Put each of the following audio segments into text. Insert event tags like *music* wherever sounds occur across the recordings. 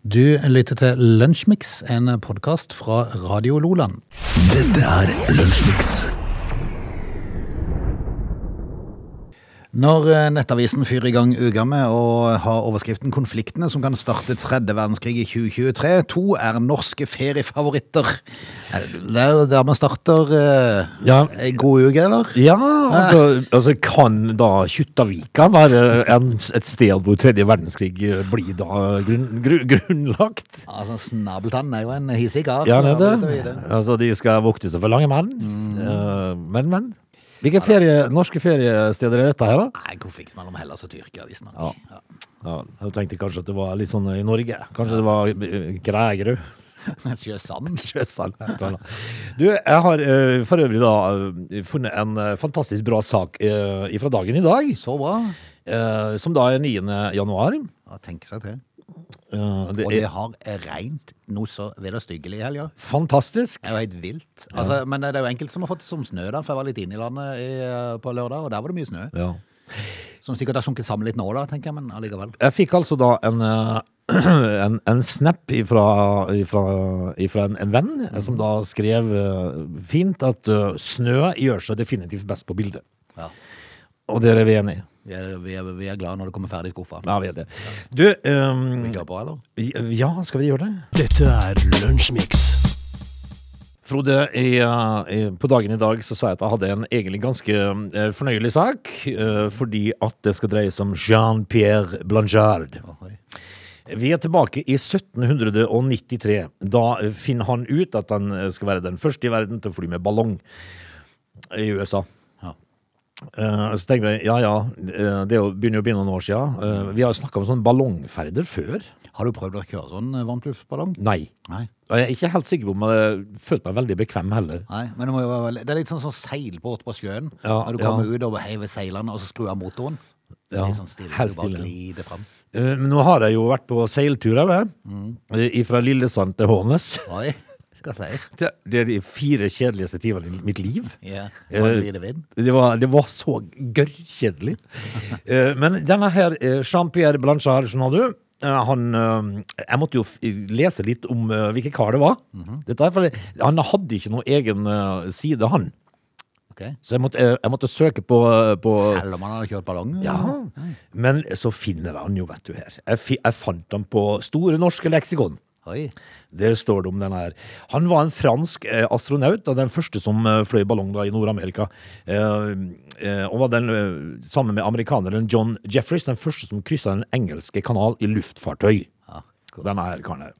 Du lytter til Lunsjmix, en podkast fra Radio Loland. Dette er Lunsjmix. Når eh, Nettavisen fyrer i gang uka med å ha overskriften 'Konfliktene som kan starte tredje verdenskrig i 2023', to er norske feriefavoritter. Er Det er jo der man starter eh, Ja. ei god uke, eller? Ja, altså, altså kan da Kjuttaviga være en, et sted hvor tredje verdenskrig eh, blir da grunn, gru- grunnlagt? Altså, Snabeltann er jo en hissig kar. Ja, så det er vet vi det. Altså, de skal vokte seg for lange menn. Eh, Men, men. Hvilke ferie, norske feriesteder er dette her, da? Nei, konflikt mellom Hellas og Tyrkia, visstnok. Ja. *laughs* Ja. Ja, jeg tenkte kanskje at det var litt sånn i Norge. Kanskje det var eh, *laughs* Krægerud. Sjøsand. Sjøsand. et eller annet. Du, jeg har eh, for øvrig da eh, funnet en eh, fantastisk bra sak fra dagen i dag, Så bra. eh, som da er 9. januar. Ja, tenke seg til. Eh, Det Og er det har regnet noe så vel og styggelig i helga. Fantastisk. Det er jo helt vilt. Altså, Men det er jo enkelte som har fått det som snø, da, for jeg var litt inne i landet i, eh, på lørdag, og der var det mye snø. Ja. Som sikkert har sunket sammen litt nå, da, tenker jeg, men allikevel. Jeg fikk altså da en, eh, *clears throat* en, en snap ifra, ifra, ifra en, en venn eh, Mm. som da skrev eh, fint at eh, snø gjør seg definitivt best på bildet. Ja. Og der er vi enige. Vi er, vi er, vi er glad når det kommer ferdig i skuffa. Ja, vi er det. Du, Vi ehm, kjører på, eller? ja, skal vi gjøre det? Dette er Lunsjmix. Frode, i, uh, i, på dagen i dag så sa jeg at jeg hadde en egentlig ganske eh, fornøyelig sak, eh, fordi at det skal dreie seg om Jean-Pierre Blanchard. Ohoi. Vi er tilbake i 1793. Da finner han ut at han eh, skal være den første i verden til å fly med ballong i USA. Ja. Eh, så tenkte jeg ja ja, eh, det er jo- begynner jo å bli noen år siden. Eh, vi har jo snakka om sånne ballongferder før. Har du prøvd å kjøre sånn eh, varmtluftballong? Nei. Nei. Og jeg er ikke helt sikker på om jeg følte meg veldig bekvem heller. Nei, men det, må jo være, veldig- det er litt sånn, sånn seilbåt på sjøen. Ja, når du ja. kommer ut og heiver seilene, og så skrur av motoren. Så det Ja, er sånn stille, helt du bare stille. glider frem. Eh, Men nå har jeg jo vært på seiltur, jeg. Mm. Fra Lillesand til Hånes. Oi, skal jeg si. Det det er de fire kjedeligste timene i mitt liv. Ja. Eh, Var det lite vind? Det var, det var så gørrkjedelig. Eh, Men denne her, eh, Jean-Pierre Blanchard, skjønner du eh, han, eh, jeg måtte jo f- lese litt om eh, hvilke kar det var. Dette er fordi han hadde ikke noen egen eh, side, han. Ok. Så jeg måtte, eh, jeg måtte søke på, eh, på Selv om han hadde kjørt ballong? Ja. Men så finner jeg han jo, vet du her. Jeg, fi, jeg fant han på Store norske leksikon. Oi. Der står det om den her. Han var en fransk eh, astronaut, og den første som eh, fløy ballong da i Nord-Amerika. Eh, eh, og var den, eh, sammen med amerikaneren John Jeffreys, den første som kryssa den engelske kanal i luftfartøy. Ja, cool. Denne her karen her.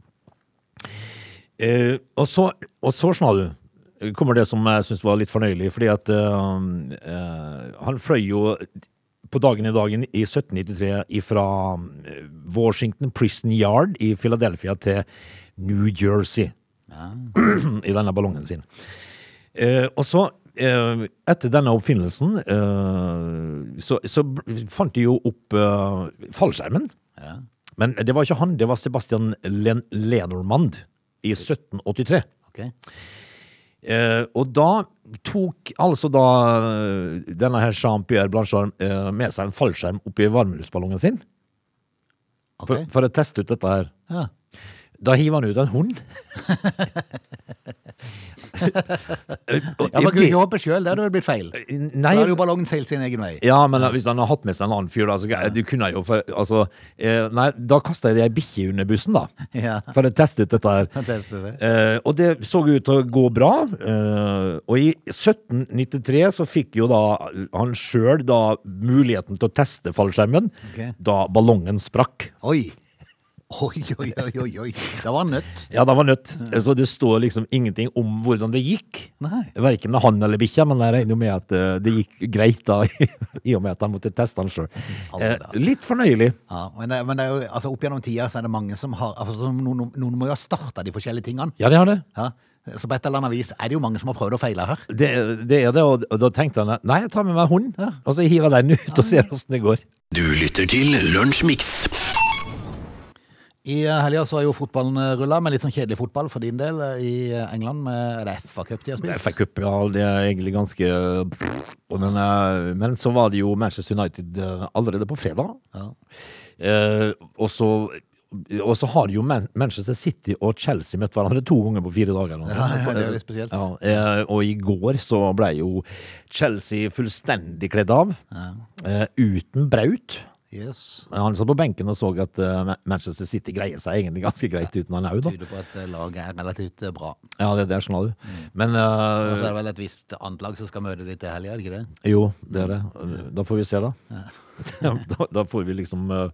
Eh, og så, og så skjønner du, kommer det som jeg syns var litt fornøyelig, fordi at eh, eh, han fløy jo på dagen i dagen i 1793 fra eh, Washington Prison Yard i Philadelphia til New Jersey *clears throat* i denne ballongen sin. Eh, og så, eh, etter denne oppfinnelsen, eh, så, så b- fant de jo opp eh, fallskjermen. Ja. Men det var ikke han, det var Sebastian Len Lenormand i 1783. Ok. Eh, og da tok altså da eh, denne her Jean-Pierre Blanchard eh, med seg en fallskjerm oppi varmeluftballongen sin for, Ok. for å teste ut dette her. Ja. Da hiver han ut en *laughs* hund. Ja, man kunne ikke hoppe sjøl, det hadde vel blitt feil. Da Nei, hadde jo ballongen seilt sin egen vei. Ja, men hvis han har hatt med seg en annen fyr, da, så du kunne jo for, altså, eh, Nei, da kasta jeg ei bikkje under bussen, da. Ja. For å teste ut dette her. Han testet det. Eh, og det så ut til å gå bra. eh, og i 1793 så fikk jo da han sjøl da muligheten til å teste fallskjermen Ok. da ballongen sprakk. Oi. Oi, oi, oi, oi, oi. Det var nødt. Ja, da var nødt. Så det står liksom ingenting om hvordan det gikk. Nei. Verken med han eller bikkja, men jeg regner jo med at eh, det gikk greit da, *laughs* i og med at han måtte teste han sjøl. Eh, Aldri da. litt fornøyelig. Ja, men det, men det er jo, altså opp gjennom tida så er det mange som har altså, som noen, noen må jo ha starta de forskjellige tingene. Ja, det har det. Ja. Så på et eller annet vis er det jo mange som har prøvd og feila her. Det, det er det, og, og da tenkte han nei, jeg tar med meg hunden, og så hiver jeg den ut og ser åssen det går. Du lytter til Lunsjmix. I eh, helga så har jo fotballen rulla, med litt sånn kjedelig fotball for din del, eh, i eh, England. Med, er det FA-cup de har spilt? FA Cup, ja, det er egentlig ganske men, eh, men så var det jo Manchester United eh, allerede på fredag. Ja. Eh, og så Og så har jo Man- Manchester City og Chelsea møtt hverandre to ganger på fire dager. eller noe sånt. Ja, det er litt spesielt. Ja, eh, og i går så ble jo Chelsea fullstendig kledd av, eh, uten Braut. Yes. Han satt på benken og så at eh, Ma- Manchester City greier seg egentlig ganske greit uten han òg, da. Tyder på at eh, laget er relativt eh, bra. Ja, det, det er sånn, du. Men eh, Og så er det vel et visst annet lag som skal møte de til helga, er det ikke det? Jo, Mm. det er det. Da får vi se, da. *laughs* da, da får vi liksom eh,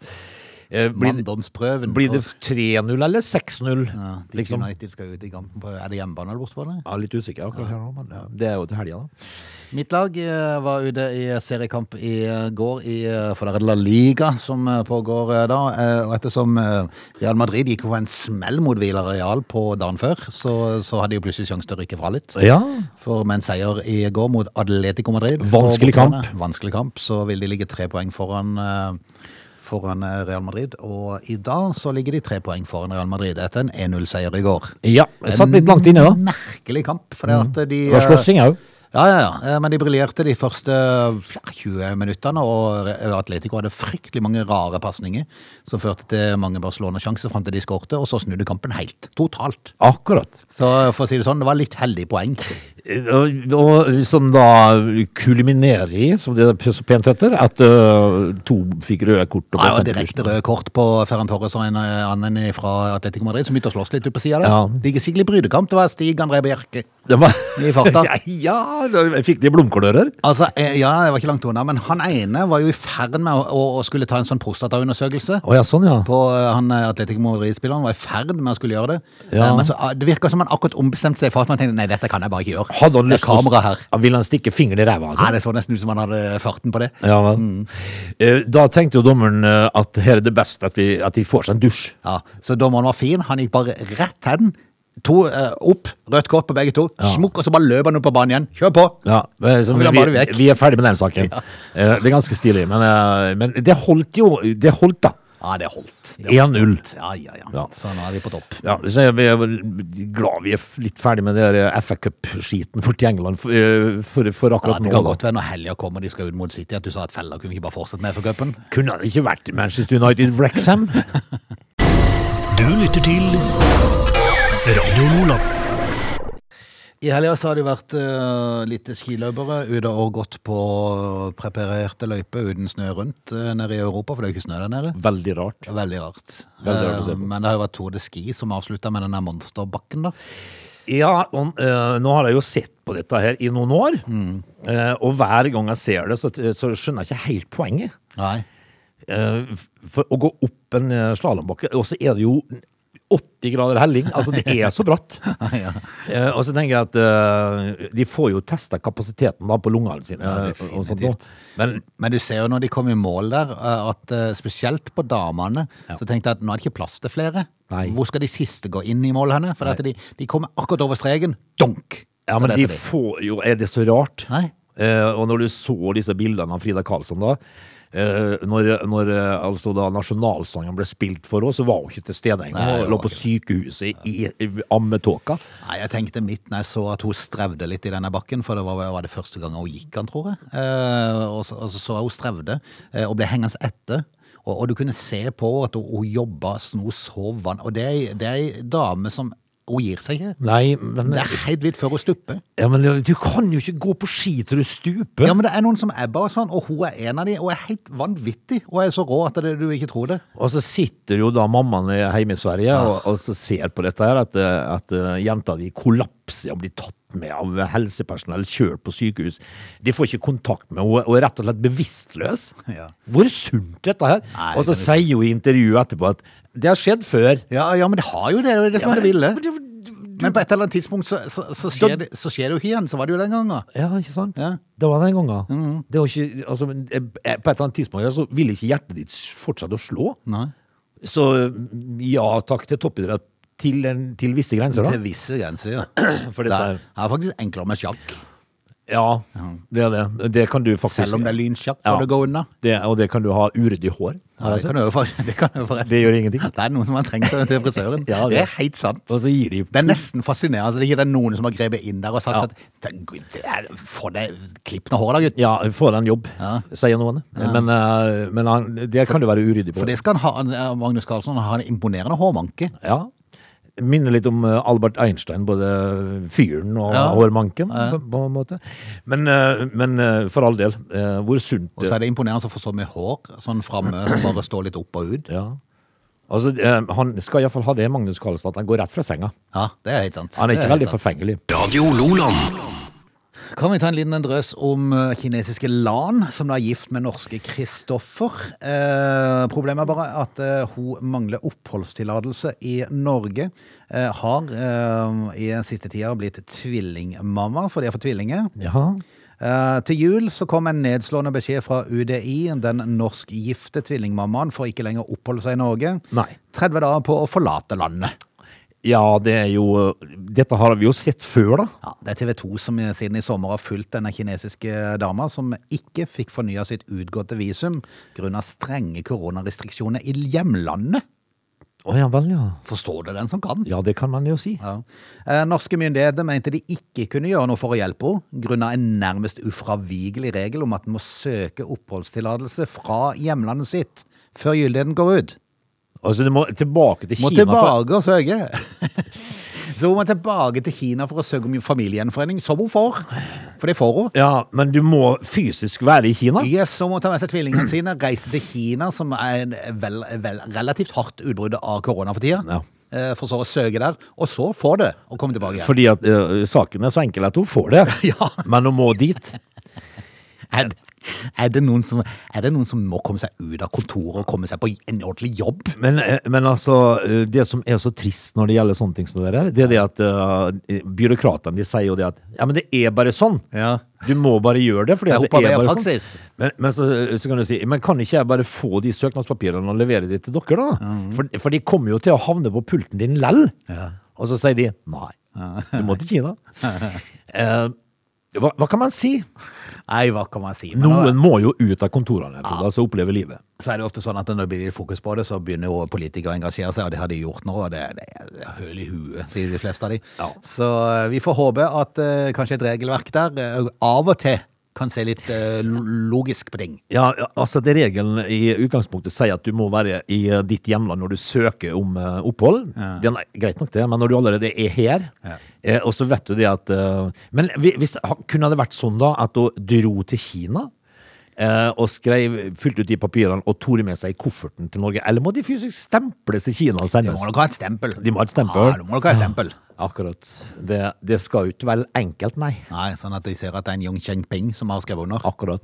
eh, blir, Manndomsprøven. blir det for- 3-0 eller 6-0? ja, de liksom? United skal ut i kampen på Er det hjemmebane eller bortebane? Ja, litt usikker akkurat her nå, men eh, det er jo til helga, da. Mitt lag eh, var ute i seriekamp i eh, går, i, eh, for det er La Liga som eh, pågår eh, da. eh, Og ettersom eh, Real Madrid gikk på en smell mot Villarreal på dagen før, så, så hadde de jo plutselig sjanse til å rykke fra litt. Ja. For med en seier i går mot Atletico Madrid på Vanskelig bortebane, kamp. Vanskelig kamp, så vil de ligge tre poeng foran, eh, foran eh, Real Madrid. Og i dag så ligger de tre poeng foran Real Madrid etter en 1-0-seier i går. ja. Jeg satt litt langt inne, da. Mm. Merkelig kamp. For det at de Det var eh, slåssing òg. ja, ja, ja. Eh, Men de briljerte de første ja, 20 minuttene, og Re- eh, Atletico hadde fryktelig mange rare pasninger som førte til mange Barcelona-sjanser fram til de skårte, og så snudde kampen helt. Totalt. Akkurat. Så for å si det sånn, det var litt heldig poeng. Eh, Og, og som da kulminerer i, som det så pent heter, at eh, to fikk røde kort. Ja, og og ble sendt ut. direkte røde kort på Ferran Torres og en eh, annen fra Atletico Madrid som begynte å slåss litt ut på sida der. Ja. Det gikk skikkelig brydekamp. Det var Stig André Bjerke. Det var... I farta. *laughs* ja, da fikk de blomkålører? Altså, eh, ja, jeg var ikke langt unna, men han ene var jo i ferd med å, å, å skulle ta en sånn prostataundersøkelse. Å ja, sånn ja. På eh, han eh, Atletico Madrid-spilleren var i ferd med å skulle gjøre det. Ja. Eh, Men så, ah, det virka som han akkurat ombestemte seg for at man tenkte nei, dette kan jeg bare ikke gjøre. Hadde han det er lyst til å- kamera her. Han Ville han stikke fingeren i ræva? Altså? Ja, det så nesten ut som han hadde farten på det. Ja, vel. Mm. Eh, Da tenkte jo dommeren eh, at her er det best at, vi, at de får seg en dusj. Ja, så dommeren var fin. Han gikk bare rett til den. To eh, opp, rødt kort på begge to. Smukk, og så bare løp han opp på banen igjen. Kjør på! Ja, eh, så Han vi, ville ha bare vekk. vi er ferdig med den *laughs* saken. Eh, Det er ganske stilig, men, eh, men det holdt jo. Det holdt, da. Ja, det holdt. Det holdt. 1-0. Ja, ja, ja, Ja. Så nå er vi på topp. Ja, så jeg er vel glad vi er f- litt ferdig med det der FA Cup-skiten borti England for, eh, for, for Ja, akkurat det nå. kan da. godt være når helga kommer og de skal ut mot City, at du sa at fella kunne vi ikke bare fortsette med FA-cupen. Kunne det ikke vært Manchester United *laughs* Wrexham? Du lytter til Radio Nordland. I helga så har det jo vært eh, litt skiløpere ute og gått på preparerte løyper uten snø rundt eh, nede i Europa, for det er jo ikke snø der nede. Veldig rart. Det er Veldig rart. Veldig rart å se Eh, men det har jo vært Tour de Ski som avslutta med den der monsterbakken, da. Ja, og, eh, nå har jeg jo sett på dette her i noen år, Mm. Eh, og hver gang jeg ser det, så, så skjønner jeg ikke helt poenget. Nei. Eh, f- for å gå opp en slalåmbakke, og så er det jo 80 grader helling. Altså, det er så *laughs* bratt. *laughs* ja. Eh, og så tenker jeg at eh, de får jo testa kapasiteten da på lungene sine. eh, og- og sånt definitivt. nå. Men Men du ser jo når de kom i mål der, eh, at eh, spesielt på damene, så tenkte jeg at nå er det ikke plass til flere. Nei. Hvor skal de siste gå inn i mål henne? For at de, de kommer akkurat over streken. Dunk! Ja, Så men dette de blir- får jo Er det så rart? Nei. Eh, og når du så disse bildene av Frida Karlsson, da eh, Når, når eh, altså da nasjonalsangen ble spilt for henne, så var hun ikke til stede engang. Nei, Hun lå på sykehuset i, i ammetåka. Nei, jeg tenkte mitt når jeg så at hun strevde litt i denne bakken, for det var, var det første gangen hun gikk, han tror jeg. Eh, og, så, og så så jeg hun strevde, eh, og ble hengende etter. Og, og du kunne se på at hun, hun jobba, så hun sov vann. Og det er ei- det er ei dame som Hun gir seg ikke. Nei, men, Det er helt vidt før hun stupper. ja, men du kan jo ikke gå på ski til du stuper! Ja, men det er noen som er bare sånn, og hun er en av de, og er helt vanvittig. Og er så rå at det, du ikke tror det. Og så sitter jo da mammaen hjemme i Sverige og, og så ser på dette her, at, eh, at eh, jenta di kollapser og blir tatt med av helsepersonell, kjørt på sykehus. De får ikke kontakt med henne og er rett og slett bevisstløs. Ja. Hvor sunt dette her? Nei, og så det sier hun i intervjuet etterpå at det har skjedd før. Ja, ja men det har jo det, det er det som er det ville. Men det- Men på et eller annet tidspunkt så, så, så, skjer, det, så skjer det jo ikke igjen. Så var det jo den gangen. Ja, ikke sant? Ja. Det var den gangen. Det var ikke, altså, men, eh, på et eller annet tidspunkt ja, så ville ikke hjertet ditt fortsette å slå. Nei. Så mm, ja takk til toppidrett til, en- til visse grenser, da. *clears throat* Til visse grenser, ja. For Det dette er, er det er faktisk enklere med sjakk. Ja, det er det. Det kan du faktisk Selv om det er lynkjapt Ja. når det går unna. Det- Og det kan du ha uryddig hår. Ja, det, kan du jo faktisk, *laughs* det kan du jo forresten. Det gjør ingenting. Det er noen som har trengt det til *laughs* frisøren. Ja, det. det. er helt sant. Og så gir de Det er nesten fascinerende. at Det ikke er noen som har grepet inn der og sagt Ja. at det, det er, Få deg klipp nå håret, da, gutt. Ja, få deg en jobb, sier noen. Men, eh, men han, det kan du være uryddig på. For det skal han ha, han- Magnus Carlsen han har en imponerende hårmanke. Ja. Minner litt om eh, Albert Einstein, både fyren og Ja. hårmanken, på, på en måte. Men, eh, men eh, for all del, eh, hvor sunt Og så er det imponerende å få så mye hår sånn framme som bare står litt opp og ut. ja. Altså, eh, han skal iallfall ha det, Magnus Carlsen, at han går rett fra senga. Ja, det er helt sant. Han er Det ikke veldig helt sant. forfengelig. Radio Loland. Kan vi ta en liten en drøs om eh, kinesiske Lan, som da er gift med norske Kristoffer? Eh, problemet er bare at eh, hun mangler oppholdstillatelse i Norge. Eh, har eh, i den siste tida blitt tvillingmamma, for de har fått tvillinger. Ja. Eh, til jul så kom en nedslående beskjed fra UDI. Den norskgifte tvillingmammaen får ikke lenger oppholde seg i Norge. Nei. 30 dager på å forlate landet. ja, det er jo Dette har vi jo sett før, da. Ja, det er TV 2 som siden i sommer har fulgt denne kinesiske dama, som ikke fikk fornya sitt utgåtte visum grunnet strenge koronarestriksjoner i hjemlandet. Å ja vel, ja. Forstår du den som kan? Ja, det kan man jo si. Ja. Eh, Norske myndigheter mente de ikke kunne gjøre noe for å hjelpe henne, grunnet en nærmest ufravikelig regel om at en må søke oppholdstillatelse fra hjemlandet sitt før gyldigheten går ut. Altså, du må tilbake til Må Kina. for- tilbake og søke. *laughs* Så hun må tilbake til Kina for å søke om familiegjenforening, som hun får. For det får hun. Ja, men du må fysisk være i Kina. Yes, så må hun ta med seg tvillingene sine, reise til Kina, som er en vel, vel, relativt hardt utbrudd av korona for tida. Ja. Eh, For så å søke der, og så få det, og komme tilbake igjen. Fordi at eh, saken er så enkel at hun får det. *laughs* Ja. Men hun må dit. Er, er, det noen som, er det noen som må komme seg ut av kontoret og komme seg på en ordentlig jobb? Men, eh, men altså, eh, det som er så trist når det gjelder sånne ting som det der, det er det at eh, byråkratene de sier jo det at ja, men det er bare sånn. Ja. Du må bare gjøre det. Fordi at Jeg det håper det er er bare praksis. sånn. Men, men så, så kan du si Men kan ikke jeg bare få de søknadspapirene og levere de til dere, da? For, for de kommer jo til å havne på pulten din lell. Og så sier de nei. Du må til Kina. Eh, hva, hva kan man si? Nei, hva kan man si? Men Noen må jo ut av kontorene for altså oppleve livet. så er det ofte sånn at når det blir fokus på det, så begynner jo politikere å engasjere seg, og det har de gjort nå, og det, det er høl i huet, sier de fleste av de. Ja. Så eh, vi får håpe at eh, kanskje et regelverk der eh, av og til kan se litt eh, lo- logisk på ting. Ja, altså det Regelen i utgangspunktet sier at du må være i eh, ditt hjemland når du søker om eh, opphold. Det er greit nok, det, men når du allerede er her, eh, og så vet du det at eh, Men hvi- hvis, ha- kunne det vært sånn da at hun dro til Kina eh, og skrev, fylte ut de papirene og tok de med seg i kofferten til Norge? Eller må de fysisk stemples i Kina og Du sendes? må nok ha et stempel. De må ha et stempel. Ja, du må nok ha et stempel. Akkurat. Det, det skal jo ikke være enkelt, nei. Nei, sånn at de ser at det er en Yong Cheng-ping som har skrevet under. Akkurat.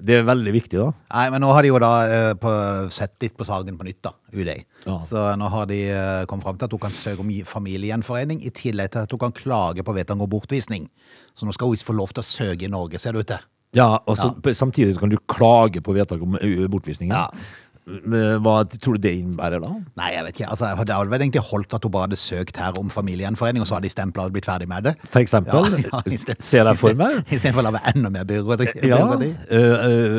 Det er veldig viktig, da. Nei, men nå har de jo da eh, på, sett litt på saken på nytt, da, UDI. Ja. Så nå har de eh, kommet fram til at hun kan søke om gi- familiegjenforening, i tillegg til at hun kan klage på vedtak om bortvisning. Så nå skal hun få lov til å søke i Norge, ser det ut til. Ja, og så p- samtidig så kan du klage på vedtak om ø, bortvisningen. Ja. Men Hva tror du det innebærer da? Nei, jeg vet ikke. Altså, det hadde vel egentlig holdt at hun bare hadde søkt her om familiegjenforening, og så hadde de stempla og blitt ferdig med det. For *laughs* eksempel, *laughs* i sted- ser jeg for *laughs* meg? *laughs* I stedet for å lage enda mer byråkrati. *laughs* Ja, byråkrati. ø,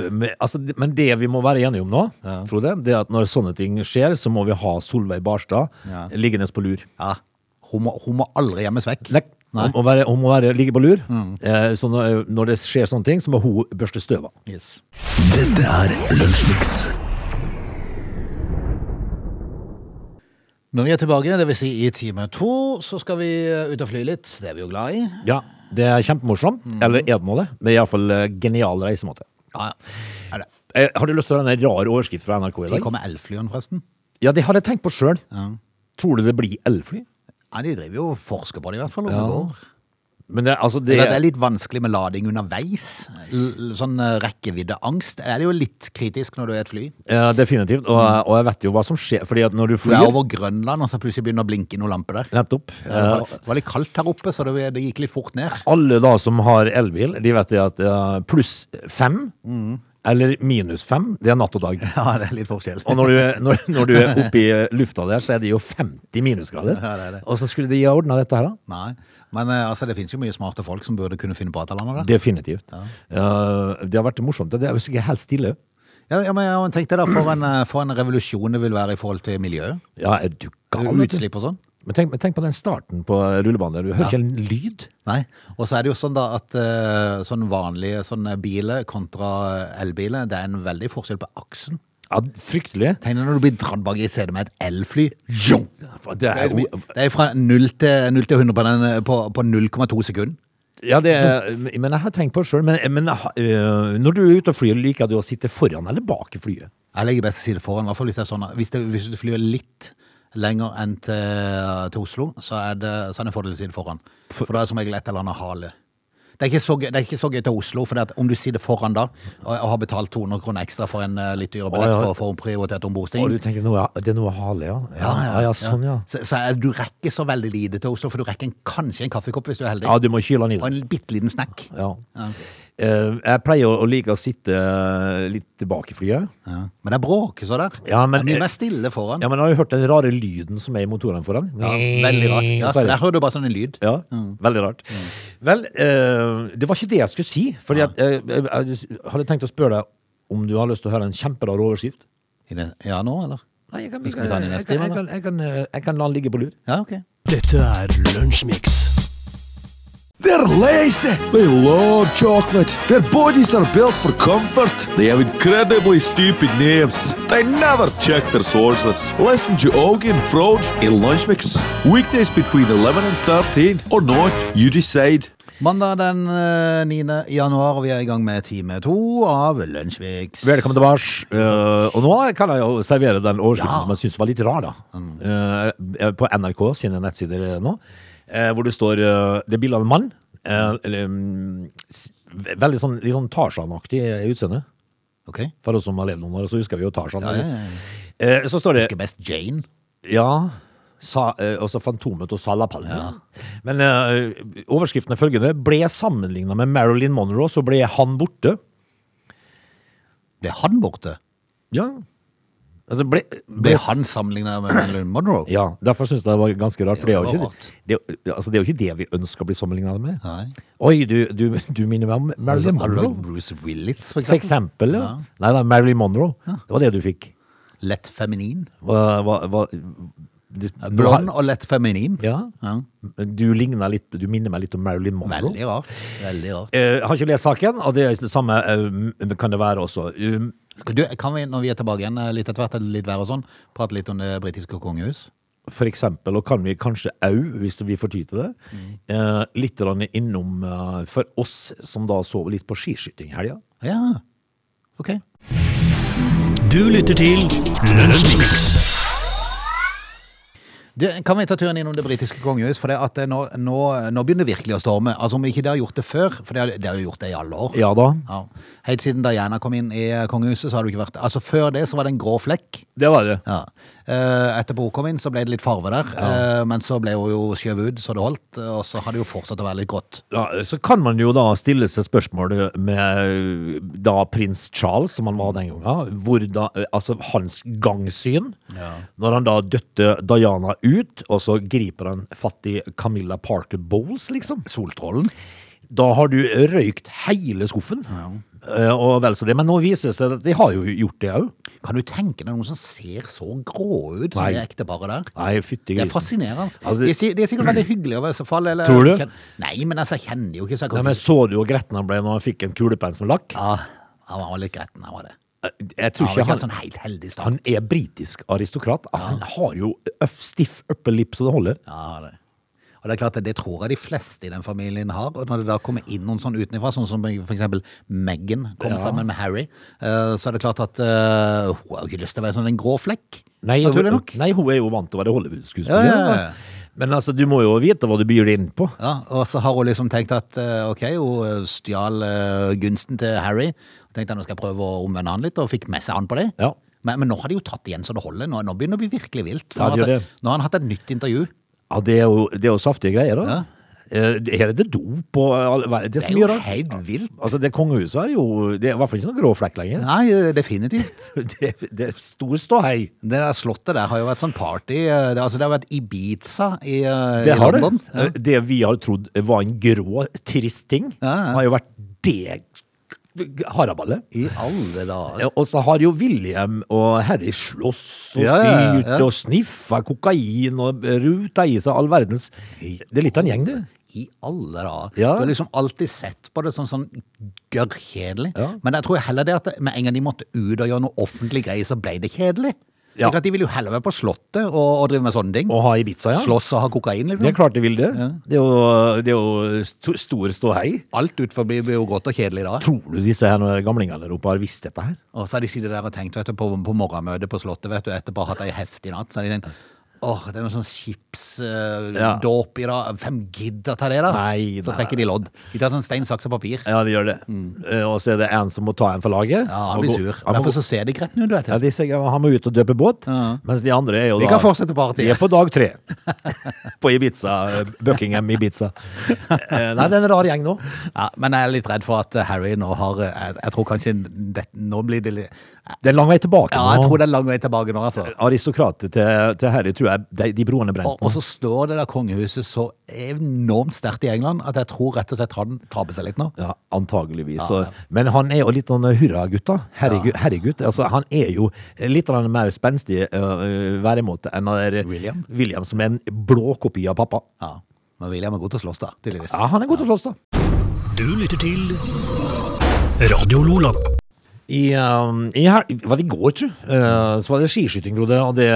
ø, men, altså, det- men det vi må være enige om nå, tror jeg, det er at når sånne ting skjer, så må vi ha Solveig Barstad Ja. liggende på lur. Ja. Hun, må, hun må aldri gjemmes vekk. Nei. Om å, være, om å være, ligge på lur. Eh, så når, når det skjer sånne ting, så må hun børste støv av. Yes. Dette er Lunsjmix. Når vi er tilbake, dvs. Si i time to, så skal vi eh, ut og fly litt. Det er vi jo glad i. Ja, Mm. det er kjempemorsomt. Eller er det nå det? Det er iallfall eh, genial reisemåte. Ja, ja. Er det- Eh, har du lyst til å høre en rar overskrift fra NRK i De dag? kommer elflyene, forresten. Ja, det har jeg tenkt på sjøl. Tror du det blir elfly? Ja, De driver jo og forsker på det, i hvert fall. om Ja. det går. Men det, altså, det, Eller at det er litt vanskelig med lading underveis. L- l- Sånn eh, rekkeviddeangst er det jo litt kritisk når du er i et fly. ja, definitivt. Og, og jeg vet jo hva som skjer. Fordi at når du Du Mm. er flyr over Grønland, og så plutselig begynner det å blinke noen lamper der. Nettopp. Det var, Eh, det var litt kaldt her oppe, så det, det gikk litt fort ned. Mm. alle da som har elbil, de vet det at eh, pluss fem eller minus fem, det er natt og dag. Ja, det er litt forskjell. Og når du, er- når, når du er oppe i lufta der, så er det jo 50 minusgrader. Ja, det er det. Og så skulle de ha ordna dette her, da. Nei, men eh, altså, det finnes jo mye smarte folk som burde kunne finne på et eller annet. da. Definitivt. Eh, det har vært morsomt. Det er jo sikkert helt stille. Ja, ja, men jeg tenkte da, for en, eh, for en revolusjon det vil være i forhold til miljøet. Ja, er du gal? vet du? Utslipp og sånn. Men tenk, men tenk på den starten på rullebanen. der. Du hører ikke en lyd. Nei, og så er det jo sånn da at eh, sånn vanlige sånne biler kontra eh, elbiler, det er en veldig forskjell på aksen. Ja, Fryktelig. Tenk deg når du blir dratt bak i setet med et elfly. Zjong! Det Det er, er, så mye- det er fra 0 til, 0 til 100 på, den, eh, på, på 0,2 sekunder. ja, det er, men jeg har tenkt på det sjøl. Men, men jeg har- eh, når du er ute og flyr, liker du å sitte foran eller bak i flyet? Jeg legger best å si det foran, i hvert fall hvis det er sånn at hvis, det, hvis du flyr litt lenger enn til, til Oslo, så er det så er det en fordel å si det foran. For da er det som regel et eller annet hale. Det er ikke så gøy, det er ikke så gøy til Oslo, for om du sier det foran da, og, og har betalt 200 kroner ekstra for en eh, litt dyrere billett ja. for å få prioritert Og ombordstigning du tenker noe, det er noe hale, ja. Ja, ja, ja, sånn, ja. Så, så er, du rekker så veldig lite til Oslo, for du rekker en, kanskje en kaffekopp hvis du er heldig, Ja, du må kyle den i og en bitte liten snack. Ja. Eh, jeg pleier å- å like å sitte øh, litt tilbake i flyet. Ja. Men det er bråk, så der. Ja, men- det er mye mer stille foran. Ja, men har du hørt den rare lyden som er i motorene foran? Ja, veldig rart. Ja, Så er for det- der hører du bare sånn en lyd. Ja, veldig rart. Mm. Vel, eh, det var ikke det jeg skulle si. Fordi at, eh, jeg, jeg hadde tenkt å spørre deg om du har lyst til å høre en kjemperar overskrift. I det- Ja, nå, eller? Nei, jeg kan, Vi skal ta den i neste jeg kan- time, jeg kan- jeg kan, eh, jeg kan la den ligge på lur. Ja, ok. Dette er Lunsjmix. They're lazy. They love chocolate. Their bodies are built for comfort. They have incredibly stupid names. They never check their sources. Listen to Augie and Frode in Lunchmix. Weekdays between 11 and 13 or not, you decide. Mandag den eh, 9. januar, og vi er i gang med time to av Lunsjviks. Velkommen tilbake. Eh, og nå kan jeg jo servere den overskriften Ja. som jeg syns var litt rar, da. Eh, på NRK sine nettsider nå, eh, hvor det står eh, Det er bilde av en mann. eh, eller, mm, s- ve- veldig sånn, litt sånn Tarzan-aktig utseende. Ok. For oss som har levd noen år, så husker vi jo Tarzan. Ja, ja, ja. Eh, så står det Husker best Jane. Ja. Sa, eh, også Fantomet og Salapalme. Men eh, overskriften er følgende. Ble sammenligna med Marilyn Monroe, så ble han borte. Ble han borte? Ja. Altså ble, Ble ble han han sammenlignet med Marilyn Monroe? Ja, derfor syns jeg det var ganske rart. For det er jo det var ikke det, det, altså, det, er jo ikke det vi ønsker å bli sammenligna med. Nei. Oi, du, du, du minner meg om Marilyn Har du lagd Monroe. Bruce Willis, for For eksempel? eksempel. Ja. Nei da, Marilyn Monroe. Det var det du fikk. Lett feminin. Hva, hva, hva, det, Blond og lett feminin. Ja. Ja. Du ligner litt Du minner meg litt om Marilyn Monroe. Veldig rart. Veldig rart. Eh, har ikke lest saken, og det er det samme eh, kan det være også. Um, Skal Du, kan vi, når vi er tilbake igjen eh, litt etter hvert, eller litt vær og sånn, prate litt om det britiske kongehus? for eksempel, og kan vi kanskje au, hvis vi får tid til det, eh, litt grann innom eh, for oss som da så litt på skiskyting i helga. Ja. Ok. Du lytter til Lunsjmix. Du, kan vi ta turen innom det britiske kongehus? For det at det nå, nå, nå begynner det virkelig å storme. Altså Om ikke det har gjort det før, for det har, det har jo gjort det i alle år. Ja da. Ja. Helt siden Diana kom inn i eh, kongehuset, så har det jo ikke vært Altså Før det så var det en grå flekk. Det var det. Ja. Eh, etterpå hun kom inn, så ble det litt farve der. Eh, men så ble hun jo skjøvet ut, så det holdt. Og så har det jo fortsatt å være litt grått. Ja, så kan man jo da stille seg spørsmålet med eh, da prins Charles, som han var den gangen, hvor da, eh, altså hans gangsyn, når han da døtte Diana ut, og så griper han fatt i Camilla Parker Bowles, liksom. Soltrollen. Da har du røykt hele skuffen, eh, og vel så det. Men nå viser det seg at de har jo gjort det òg. Kan du tenke deg noen som ser så grå ut som Nei. det ekteparet der? Nei, fytti Det er grisen. fascinerende. Altså- de, er, si- de er sikkert veldig hyggelige. over så fall, eller, Tror du? Kjen- Nei, men altså, jeg kjenner jo ikke så jeg kan Nei, ikke men så du hvor gretten han ble når han fikk en kulepenn som lakk? Eh, Ja, han var litt gretten, han var det. Jeg- Jeg Han tror var ikke ikke han helt sånn helt heldig i Han starten. er britisk aristokrat. Ah, Han har jo øff, stiff upper lip så det holder. Ja, han var det. Og det er klart at det tror jeg de fleste i den familien har. Og når det da kommer inn noen sånn utenfra, sånn som for eksempel Meghan kom sammen med Harry, eh, så er det klart at eh, hun har jo ikke lyst til å være sånn en grå flekk. Nei, hun, naturlig nok. nei, hun er jo vant til å være Ja, Hollywood-skuespiller. ja, ja. Men altså, du må jo vite hva du byr deg inn på. Ja, og så har hun liksom tenkt at eh, ok, hun stjal eh, gunsten til Harry. Og tenkte at nå skal jeg prøve å omvende han litt, og fikk med seg han på det. Ja. Men, men nå har de jo tatt igjen så det holder. Nå, nå begynner det å bli virkelig vilt. For nå, Ja, har det gjør hatt- nå har han hatt et nytt intervju. Ja, Det er jo, det er jo saftige greier, da. Eh, Her er det dop og all- hva er det Det som er gjør jo det. helt vilt. Altså, det kongehuset er jo Det er i hvert fall ikke noen grå flekk lenger. Nei, eh, definitivt. *laughs* Det, det er stor ståhei. Det der slottet der har jo vært sånn party eh, det, altså det har vært Ibiza i, eh, Det i har det. London. Ja. Det vi har trodd var en grå, trist ting, Ja, ja. har jo vært det haraballet. I alle dager. Ja, Og så har jo William og Harry slåss og Ja, ja, ja, styrt ja. og sniffa kokain og ruta i seg all verdens Det er litt av en gjeng, det. I alle dager. Ja. Du har liksom alltid sett på det sånn, sånn gørrkjedelig. Ja. Men jeg tror heller det at det- med en gang de måtte ut og gjøre noe offentlig greie, så ble det kjedelig. Ja. Ikke at De ville jo heller være på Slottet og, og drive med sånne ting. Å ha Ibiza, ja. Slåss og ha kokain, Det er liksom. klart de vil det. Det er jo, det er jo sto- stor ståhei. Alt utenfor blir blir jo godt og kjedelig da. Tror du disse her når gamlingene der oppe har visst dette her? Og så har de sittet der og tenkt vet du, på, på morgenmøtet på Slottet vet du, etterpå har hatt ei heftig natt. Så har de tenkt åh, det er noe sånn Ja. chipsdåp i dag. Hvem gidder ta det, da? Nei, så nei. trekker de lodd. De tar sånn stein, saks og papir. Ja, de gjør det. Eh, Og så er det en som må ta en for laget. Ja, og Han blir gå- sur. Han må, Derfor så ser de gretten ut, vet ja, du. de sier han må ut og døpe båt, Ja. mens de andre er jo De da kan fortsette De er partiet. på dag tre. *laughs* På Ibiza. eh, Buckingham Ibiza. *laughs* Eh, Nei, det er en rar gjeng nå. Ja, men jeg er litt redd for at eh, Harry nå har eh, Jeg, jeg tror kanskje det, nå blir det litt Det er lang vei tilbake. Ja, nå. jeg tror det er lang vei tilbake nå, altså. Aristokrater til, til herre tror jeg de, de broene brent Og, og så står det der kongehuset så enormt sterkt i England at jeg tror rett og slett han taper seg litt nå. Ja, antageligvis. Ja, så- ja. Men han er jo litt sånn hurragutt, da. Herregutt. herregutt. Altså, han er jo litt av den mer spenstige øh, væremåte enn han der William? William, som er en blå kopi av pappa. Ja, Men William er god til å slåss, da, tydeligvis. Ja, han er god til å slåss, da. Du lytter til Radio Lola. I, um, i her, var det i går, tror jeg, eh, så var det skiskyting, Frode. Og det,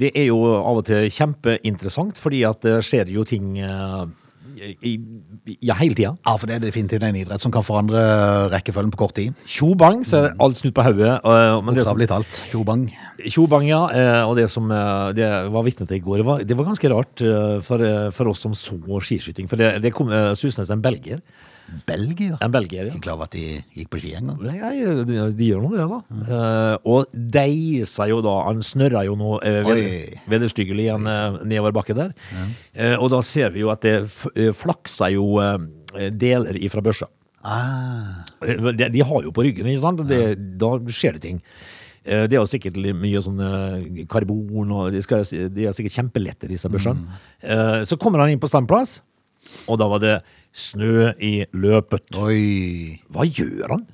det er jo av og til kjempeinteressant, fordi at det skjer jo ting eh, i, i, ja, hele tida. Ja, for det er definitivt en idrett som kan forandre rekkefølgen på kort tid. Tjo-bang, så er det alt snudd på hodet. eh, men det som- Bokstavelig talt. Tjobang. Tjobang, ja. eh, Og det som eh, det var vitne til i går, det var, det var ganske rart eh, for, eh, for oss som så skiskyting. For det, det kom eh, susende en belgier. Belgier? En belgier, ja. Ikke klar over at de gikk på ski engang. Nei, nei, de, de gjør nå det, da. Eh, og deisa jo da Han snørra jo nå eh, ved, Oi. vederstyggelig igjen eh, nedover bakken der. Eh, og da ser vi jo at det f eh, flakser jo eh, deler ifra børsa. Ah, Eh, men De, de har jo på ryggen, ikke sant? Det, Da skjer det ting. Eh, Det er jo sikkert li- mye sånn eh, karbon, og de, skal, de er sikkert kjempelette, disse Mm. børsene. Eh, Så kommer han inn på standplass, og da var det snø i løpet. oi. Hva gjør han?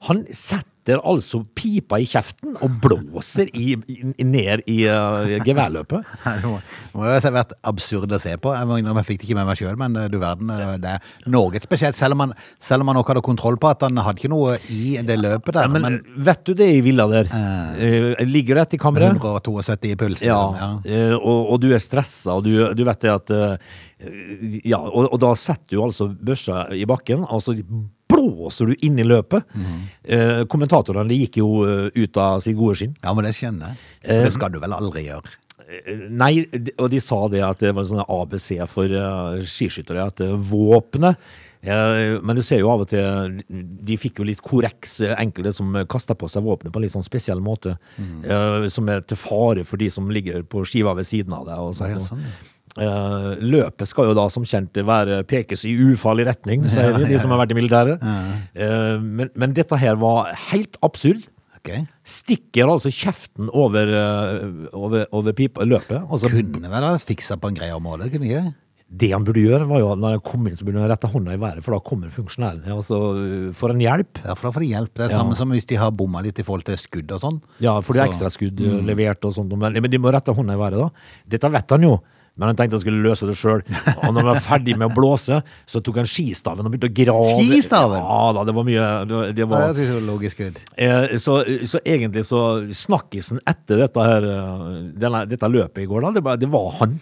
Han setter altså pipa i kjeften og blåser i, i, ned i eh, geværløpet. Det må det må jo ha vært absurd å se på. Jeg må innrømme, jeg fikk det ikke med meg sjøl, men eh, du verden, eh, det er noe spesielt. Selv om han, selv om han nok hadde kontroll på at han hadde ikke noe i det løpet Ja, der, men, men vet du det i villa der? Eh, Ligger det etter kammeret? 172 i puls. Ja, liksom, ja. eh, og, og du er stressa, og du, du vet det at eh, Ja, og, og da setter du altså børsa i bakken, og så blåser du inn i løpet. Eh, kommentatorene de gikk jo eh, ut av sitt gode skinn. Ja, men det skjønner jeg. For det skal du vel aldri gjøre. Eh, nei, de- og de sa det at det var sånn ABC for eh, skiskyttere, at eh, våpenet eh, men du ser jo av og til De fikk jo litt korreks, eh, enkelte som kasta på seg våpenet på en litt sånn spesiell måte. Mm. eh, som er til fare for de som ligger på skiva ved siden av deg. Og sånt, Ja, noe. sånn, Eh, løpet skal jo da som kjent være pekes i ufarlig *laughs* retning, sier de, de som har vært i militæret. Eh, men, men dette her var helt absurd. Ok. Stikker altså kjeften over, eh, over, over pipa, løpet. Altså, Kunne vel ha fiksa på en grei område, kunne ikke det? det han burde gjøre, var jo at når han kom inn, så burde han rette hånda i været, for da kommer funksjonæren og så eh, får han hjelp. Ja, for da får de hjelp. Det er Ja. samme som hvis de har bomma litt i forhold til skudd og sånn. Ja, for Så- det er Mm. ekstraskudd eh, levert og sånt. Men, men de må rette hånda i været, da. Dette vet han jo. Men han tenkte han skulle løse det *laughs* sjøl. Og når han var ferdig med å blåse, så tok han skistaven og begynte å grave. Skistaven? Ja da, det var mye det, var- det Ja, var, det er jo logisk ut. Eh, så, så egentlig så snakkisen etter dette, her, eh, denne, dette løpet i går, da, det, var- det var han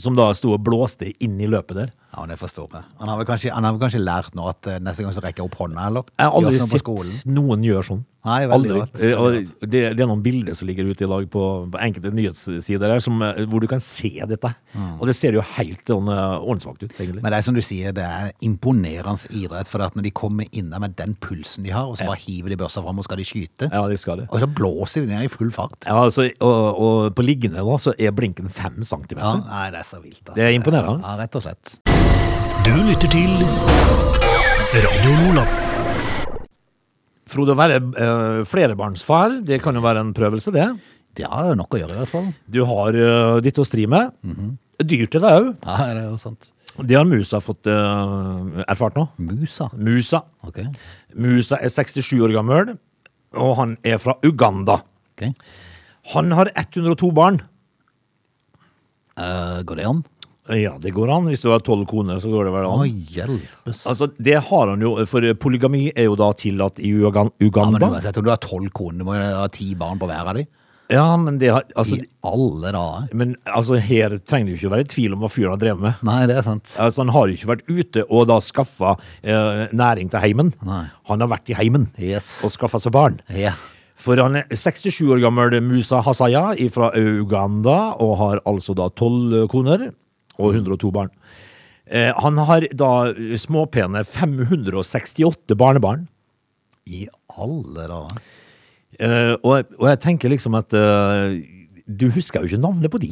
som da sto og blåste inn i løpet der. Ja, men det forstår jeg. Han har vel kanskje, han har vel kanskje lært nå at eh, neste gang så rekker jeg opp hånda, eller? Jeg har Gjør aldri sånn på skolen. sett noen gjøre sånn. Nei, veldig Aldri. rart. Eh, Og det, det er noen bilder som ligger ute i dag på, på enkelte nyhetssider her, som, eh, hvor du kan se dette. Og det ser jo helt sånn eh, ordensvakt ut, egentlig. Mm. Men det er som du sier, det er imponerende idrett, for at når de kommer inn der med den pulsen de har, og så bare hiver de børsa fram og skal de skyte, ja, det skal det. og så blåser de ned i full fart. Ja, altså, og, og på liggende da, så er blinken fem Ja, centimeter. nei, det er så vilt. da. Det er imponerende. Ja, rett og slett. Du lytter til Radio Lola. Frode, å være eh, flerbarnsfar, det kan jo være en prøvelse, det. De har nok å gjøre, i hvert fall. Du har eh, ditt å stri med. Mhm. Dyrt er det òg. Ja, det er jo sant. Det har musa fått eh, erfart nå. Musa. Musa. Ok. Musa er 67 år gammel, og han er fra Uganda. ok. Han har 102 barn. Eh, går det an? Ja, det går an. Hvis du har tolv koner, så går det vel Å, an. hjelpes. Altså, det har han jo, for polygami er jo da tillatt i Ugan- ja, men Uganda. uansett, om du har tolv koner, du må jo ha ti barn på hver av dem. Ja, men det har altså, I alle dager. Men altså, her trenger du ikke å være i tvil om hva fyren har drevet med. Nei, det er sant. Altså, han har jo ikke vært ute og da skaffa eh, næring til heimen. Nei. Han har vært i heimen Yes. og skaffa seg barn. Ja. For han er 67 år gammel Musa Hasaya fra Uganda og har altså da 12 koner og 102 barn. Eh, han har da eh, småpene 568 barnebarn. I alle dager. Eh, og, og jeg tenker liksom at eh, du husker jo ikke navnet på de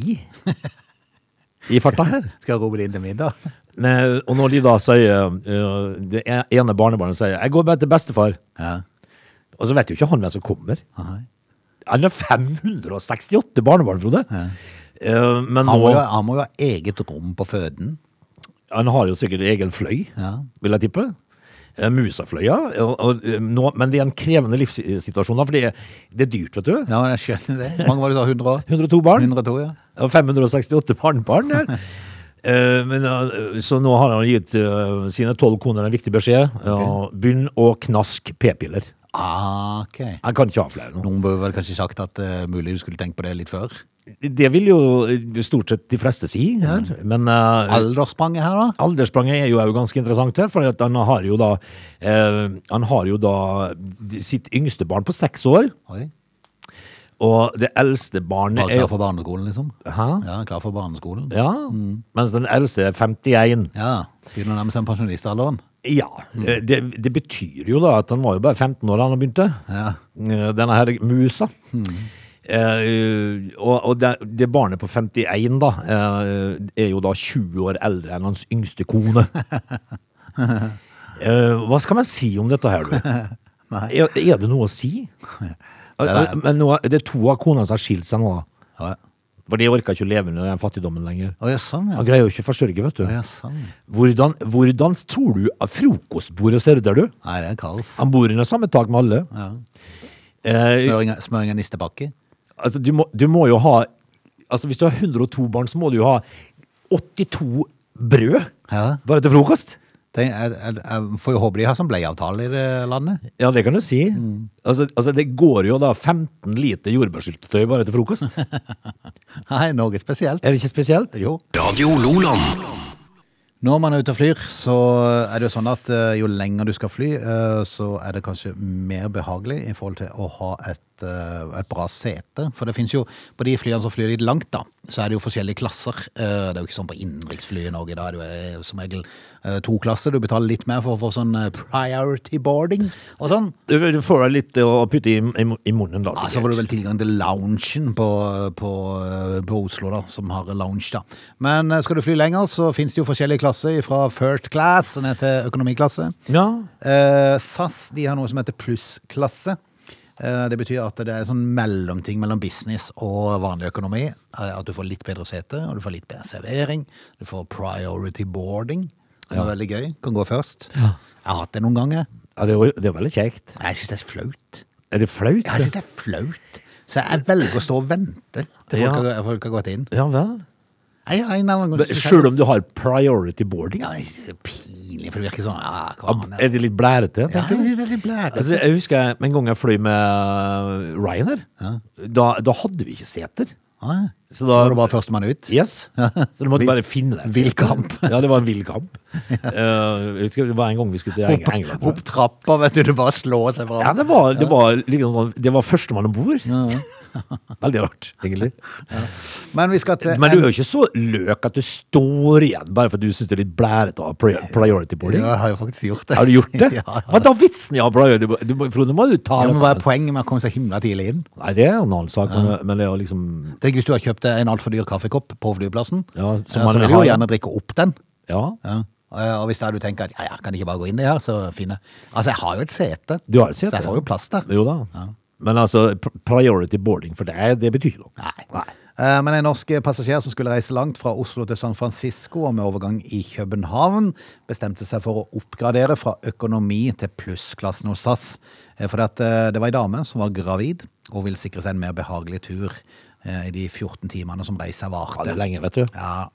i farta her. Skal jeg rope det inn til middag? Nei, og når de da sier eh, Det ene barnebarnet sier 'Jeg går bare til bestefar', Ja. og så vet jo ikke han hvem som kommer. Nei. Han har 568 barnebarn, Frode. Eh, men Han nå, må, jo, han må jo ha eget rom på føden. han har jo sikkert egen fløy, Ja. vil jeg tippe. Eh, Musafløya. Og, og, eh, nå, men det er en krevende livssituasjon, da, for det, er- det er dyrt, vet du. Ja, jeg skjønner det. Hvor mange var det du sa? 100 år? 102 barn. 102, ja. Og 568 barnebarn der. Eh, men, eh, så nå har han gitt eh, sine tolv koner en viktig beskjed. ja, begynn å knaske p-piller. Ah, ok. Han kan ikke ha flere nå. Noen bør vel kanskje sagt at eh, mulig du skulle tenkt på det litt før. Det vil jo stort sett de fleste si her, men eh, Alderspranget her, da? alderspranget er jo også ganske interessant her, for at han har jo da eh, han har jo da sitt yngste barn på seks år, Oi. og det eldste barnet Bare er klar for barneskolen, liksom? Hæ? Ja, Eh. klar for barneskolen. Ja, mens den eldste er 51. Ja, Begynner å nærme seg pensjonistalderen. Ja, eh, det, det betyr jo da at han var jo bare 15 år da han begynte, Ja. eh, denne her musa. Eh, og og det, det barnet på 51 da, eh, er jo da 20 år eldre enn hans yngste kone. Eh, hva skal man si om dette her, du? Er, er det noe å si? Eh, Men nå, er- det er to av konene som har skilt seg nå da. Ja. For de orker ikke å leve under den fattigdommen lenger. Å ja, sånn, ja. Han greier jo ikke å forsørge, vet du. Å, ja, sånn. Hvordan, hvordan tror du at frokostbordet ser ut der, du? Nei, det er kaos. Han bor under samme tak med alle. Eh, Smøring, av- smøring av nistepakke. altså, du, må, du må jo ha Altså, hvis du har 102 barn, så må du jo ha 82 brød Ja. bare til frokost. Tenk, jeg, jeg, jeg får jo håpe de har sånn bleieavtale i det landet. *laughs* Ja, det kan du si. Mm. Altså, altså, det går jo da 15 liter jordbærsyltetøy bare til *laughs* frokost. er Nei, Norge spesielt. det ikke spesielt? Jo. Radio Loland. Når man er ute og flyr, så er det jo sånn at eh, jo lenger du skal fly, eh, så er det kanskje mer behagelig i forhold til å ha et, eh, et bra sete. For det finnes jo, på de flyene som flyr litt langt da, så er det jo forskjellige klasser. Eh, Det er jo ikke sånn på innenriksfly i Norge, da er det jo eh, som regel eh, to klasser. Du betaler litt mer for å få sånn eh, priority boarding og sånn. Du, du får deg litt å putte i, i, i munnen, da. Ja, sikkert. så får du vel tilgang til loungen på, på, på Oslo, da, som har lounge, da. Men eh, skal du fly lenger, så finnes det jo forskjellige klasser, fra first class ned til økonomiklasse. Ja. Eh, SAS de har noe som heter plussklasse. Eh, det betyr at det er sånn mellomting mellom business og vanlig økonomi. Eh, at du får litt bedre sete, og du får litt bedre servering. Du får priority boarding. Det er veldig gøy. Kan gå først. Jeg har hatt det noen ganger. ja det, er jo- det er veldig kjekt. Nei, Jeg syns det er flaut. Er det flaut? Jeg synes det er flaut. Så jeg velger å stå og vente til folk, Ja. har, folk har gått inn. Ja vel. Jeg, jeg, nei, nei, nei, Sjøl om du har priority boarding? ja, jeg synes det er pinlig, for det virker sånn ja, hva Ab- faen, Er det litt blærete? ja, tenker jeg du? synes det er litt blærete. Altså, jeg husker jeg- en gang jeg fløy med Ryanair. Da, da hadde vi ikke seter. Ja, Så Da da, var det bare førstemann ut. Yes. Så du måtte Vill- bare finne deg. et vill sete. kamp. *laughs* Ja, det var en vill kamp. Eh, jeg husker det var en gang vi skulle til Eng- England. tror jeg. Opp trappa, vet du. Det bare slår seg Ja, fram. det var, det var liksom sånn Det var førstemann om bord. *laughs* Veldig rart, egentlig. Men vi skal til Men du er jo ikke så løk at du står igjen bare fordi du syns det er litt blærete å ha pri- priority boarding. Ja, jeg har jo faktisk gjort det. Har du gjort det? *laughs* ja, ja. Hva er da vitsen i å ha priority boarding? Du må- Frode, må du ta Ja, deg men Hva er sammen. poenget med å komme seg himla tidlig inn? Nei, det er en annen sak, men- men det er jo liksom Tenk hvis du har kjøpt en altfor dyr kaffekopp på flyplassen, Ja, som eh, så man vil du jo har- gjerne drikke opp den. Ja. Ja. Eh, Og hvis da du tenker at ja, ja, kan jeg ikke bare gå inn i her, så fine. Altså, jeg har jo et sete, Du har et sete. så jeg får jo plass der. Jo da. Men altså, pr- priority boarding for deg, det betyr noe. Nei. Eh, Men en norsk passasjer som skulle reise langt fra Oslo til San Francisco og med overgang i København, bestemte seg for å oppgradere fra økonomi til plussklassen hos SAS. Eh, For at eh, det var ei dame som var gravid og ville sikre seg en mer behagelig tur eh, i de 14 timene som reisa Ja, det varte. er lenge, vet du. Ja,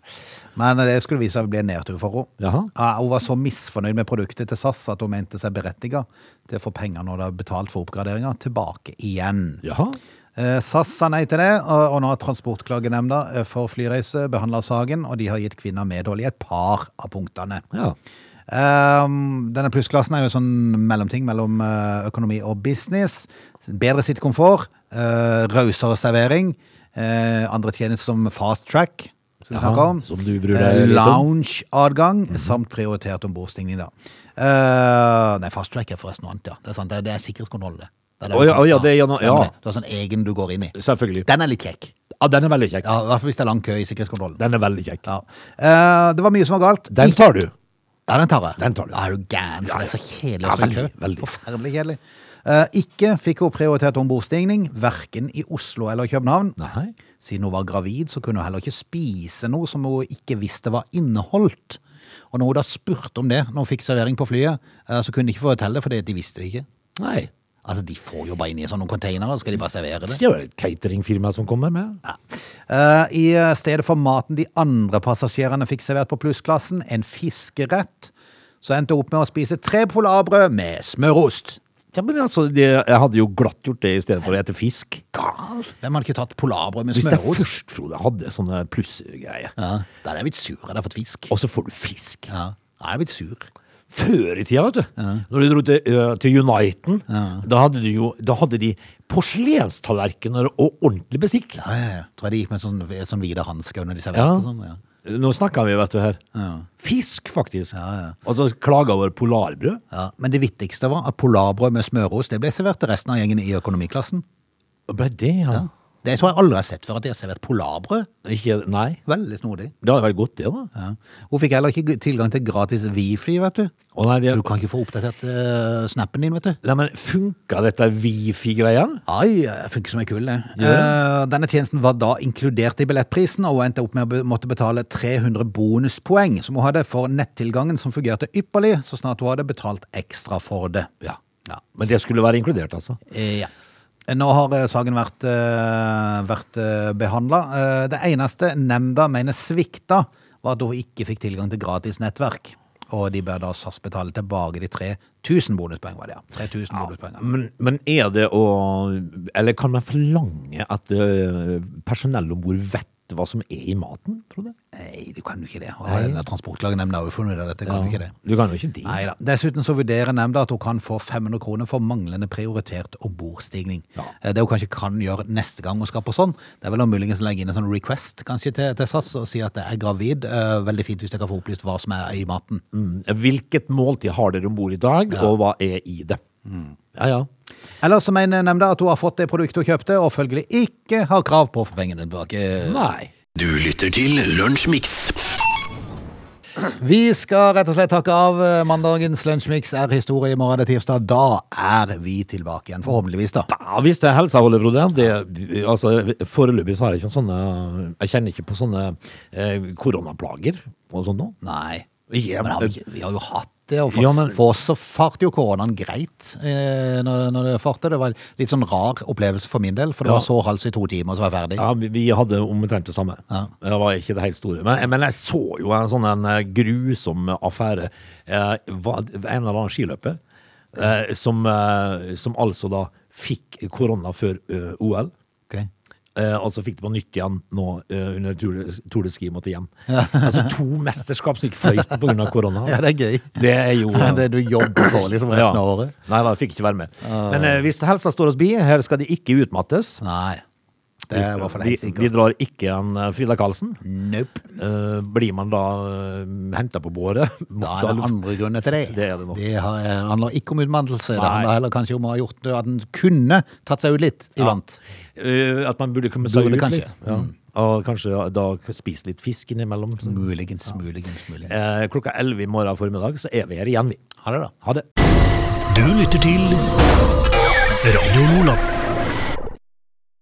Men eh, det skulle vise seg å bli en nedtur for henne. Jaha. Ja, hun var så misfornøyd med produktet til SAS at hun mente seg berettiga til å få penger når de har betalt for oppgraderinga, tilbake igjen. Jaha. Eh, SAS sa nei til det, og og nå har Transportklagenemnda eh, for flyreise behandla saken, og de har gitt kvinner medhold i et par av punktene. Ja. Ehm, denne plussklassen er jo en sånn mellomting mellom eh, økonomi og business. Bedre sittekomfort, eh, rausere servering, eh, andre tjenester som fast track, som vi Jaha, snakker om. Eh, som du bryr deg litt om. Mhm. Lounge-adgang, samt prioritert ombordstigning, da. Eh, nei, fast track er forresten noe annet, ja. Det er, sant, det er, det er sikkerhetskontroll, det. Det er det Å, ja, du- å, ja, det er gjennom- stemmer ja. det. Du har sånn egen du går inn i. Selvfølgelig. Den er litt kjekk. Ja, den er veldig kjekk. Ja, I hvert fall hvis det er lang kø i sikkerhetskontrollen. Den er veldig kjekk. Ja. Eh, det var mye som var galt. Den tar du. Ja, den tar jeg. Den tar du. Ja, er du gæren? For det er så kjedelig å Ja, stå i kø. veldig, veldig. Forferdelig kjedelig. Eh, ikke fikk hun prioritert ombordstigning, verken i Oslo eller København. Nei. Siden hun var gravid, så kunne hun heller ikke spise noe som hun ikke visste var inneholdt. Og når hun da spurte om det, når hun fikk servering på flyet, eh, så kunne de ikke fortelle det, fordi de visste det ikke. Nei. Altså, de får jo bare inn i sånne containere, skal de bare servere det? Det er jo et cateringfirma som kommer med. Ja. Eh, I eh, stedet for maten de andre passasjerene fikk servert på plussklassen, en fiskerett, så endte jeg opp med å spise tre polarbrød med smørost. Ja, men altså, det, jeg hadde jo glatt gjort det i stedet for å ete fisk. Gal! Hvem hadde ikke tatt polarbrød med Hvis jeg smørost? først trodde jeg hadde sånne plussgreier, Ja, da hadde jeg blitt sur, jeg hadde fått fisk. og så får du fisk. Ja, da hadde jeg blitt sur. Før i tida, vet du. Når du dro til, ø, til Uniten, da, hadde du jo, da hadde de porselenstallerkener og ordentlig bestikk. Ja, ja, ja. Tror jeg de gikk med sånn, sånn hvite hansker under de Ja. serverte sånn. Ja. Nå snakker vi, vet du, her. Fisk, faktisk. ja. Og så klager over polarbrød. Ja, men det vittigste var at polarbrød med smørost, det ble servert til resten av gjengen i økonomiklassen. Og Ble det, ja. Det tror jeg aldri jeg har sett før, at de har servert polarbrød. Ikke, nei. Veldig snodig. Det hadde vært godt, det, da. Ja. Hun fikk heller ikke tilgang til gratis wifi, vet du. Å, nei, det, Så du kan ikke få oppdatert eh, snappen din, vet du. nei, men funka dette wifi-greia? Ai, jeg funker som ei kule. Eh, denne tjenesten var da inkludert i billettprisen, og hun endte opp med å be- måtte betale 300 bonuspoeng som hun hadde for nettilgangen, som fungerte ypperlig så snart hun hadde betalt ekstra for det. Ja. Ja. Men det skulle være inkludert, altså. Eh, ja. Nå har eh, saken vært, uh, vært behandla. det eneste nemnda mener svikta, var at hun ikke fikk tilgang til gratis nettverk. Og de bør da SAS betale tilbake de 3000 bonuspoeng, var det ja. 3000 bonuspoeng. ja. Men, men er det å Eller kan man forlange at ø, personell om bord vet hva som er i maten, tror du? Nei, du kan jo ikke det. Og denne Transportklagenemnda har jo funnet ut av dette, kan du ikke det? Du kan jo ikke det. Neida. Dessuten så vurderer nemnda at hun kan få 500 kroner for manglende prioritert ombordstigning. Eh, Det hun kanskje kan gjøre neste gang hun skal på sånn, det er vel å muligens legge inn en sånn request kanskje til, til SAS og si at jeg er gravid. Eh, Veldig fint hvis jeg kan få opplyst hva som er i maten. Mm. Hvilket måltid har dere om bord i dag, og hva er i det? Mm. Ja, ja. Ellers så mener nemnda at hun har fått det produktet hun kjøpte, og følgelig ikke har krav på å få pengene tilbake. Nei. Du lytter til Lunsjmix. Vi skal rett og slett takke av. Eh, Mandagens lunsjmix er historie. I morgen er det tirsdag. Da er vi tilbake igjen, forhåpentligvis, da. Ja, hvis det er helsa holder, Frode. Det, altså, foreløpig så har jeg ikke sånne Jeg kjenner ikke på sånne eh, koronaplager og sånn nå. Nei. Ikke- Men har vi, ikke, vi har jo hatt det, og for, Eh, Ja, men- for oss så fart jo koronaen greit eh, når, når det fartet. Det var en litt sånn rar opplevelse for min del, for det Ja. var sår hals i to timer, og så var jeg ferdig. Ja, vi, vi hadde omtrent det samme. Det var ikke det helt store. Men, men jeg så jo en sånn en eh, grusom affære. Eh, hva- en eller annen skiløper eh, som, eh, som altså da fikk korona før eh, OL. Ok. Eh, og så fikk de på nytt igjen nå eh, under Tour de- Tour de Ski måtte hjem. Altså to mesterskap som gikk fløyt pga. korona. *laughs* Ja, det er gøy. Det er jo eh, *laughs* Det du jobber for liksom resten av året. Ah. Nei da, jeg fikk ikke være med. Men eh, hvis helsa står oss bi, her skal de ikke utmattes. Nei. Det er i hvert fall Vi, helt sikkert. vi drar ikke en eh, Frida Karlsen. Nope. Eh, blir man da uh, henta på båret? *laughs* Da er det andre grunner til det. Det er det nok. har- eh, handler ikke om utmattelse. Det Nei. handler heller kanskje om å ha gjort noe at en kunne tatt seg ut litt iblant. Eh, at man burde komme seg Burde ut kanskje. litt. Ja. og kanskje da spise litt fisk innimellom. Mm. Så, Muligens, muligens, muligens. eh, klokka 11 i morgen formiddag så er vi her igjen, vi. Ha det, da. Ha det. Du lytter til Radio Nordland.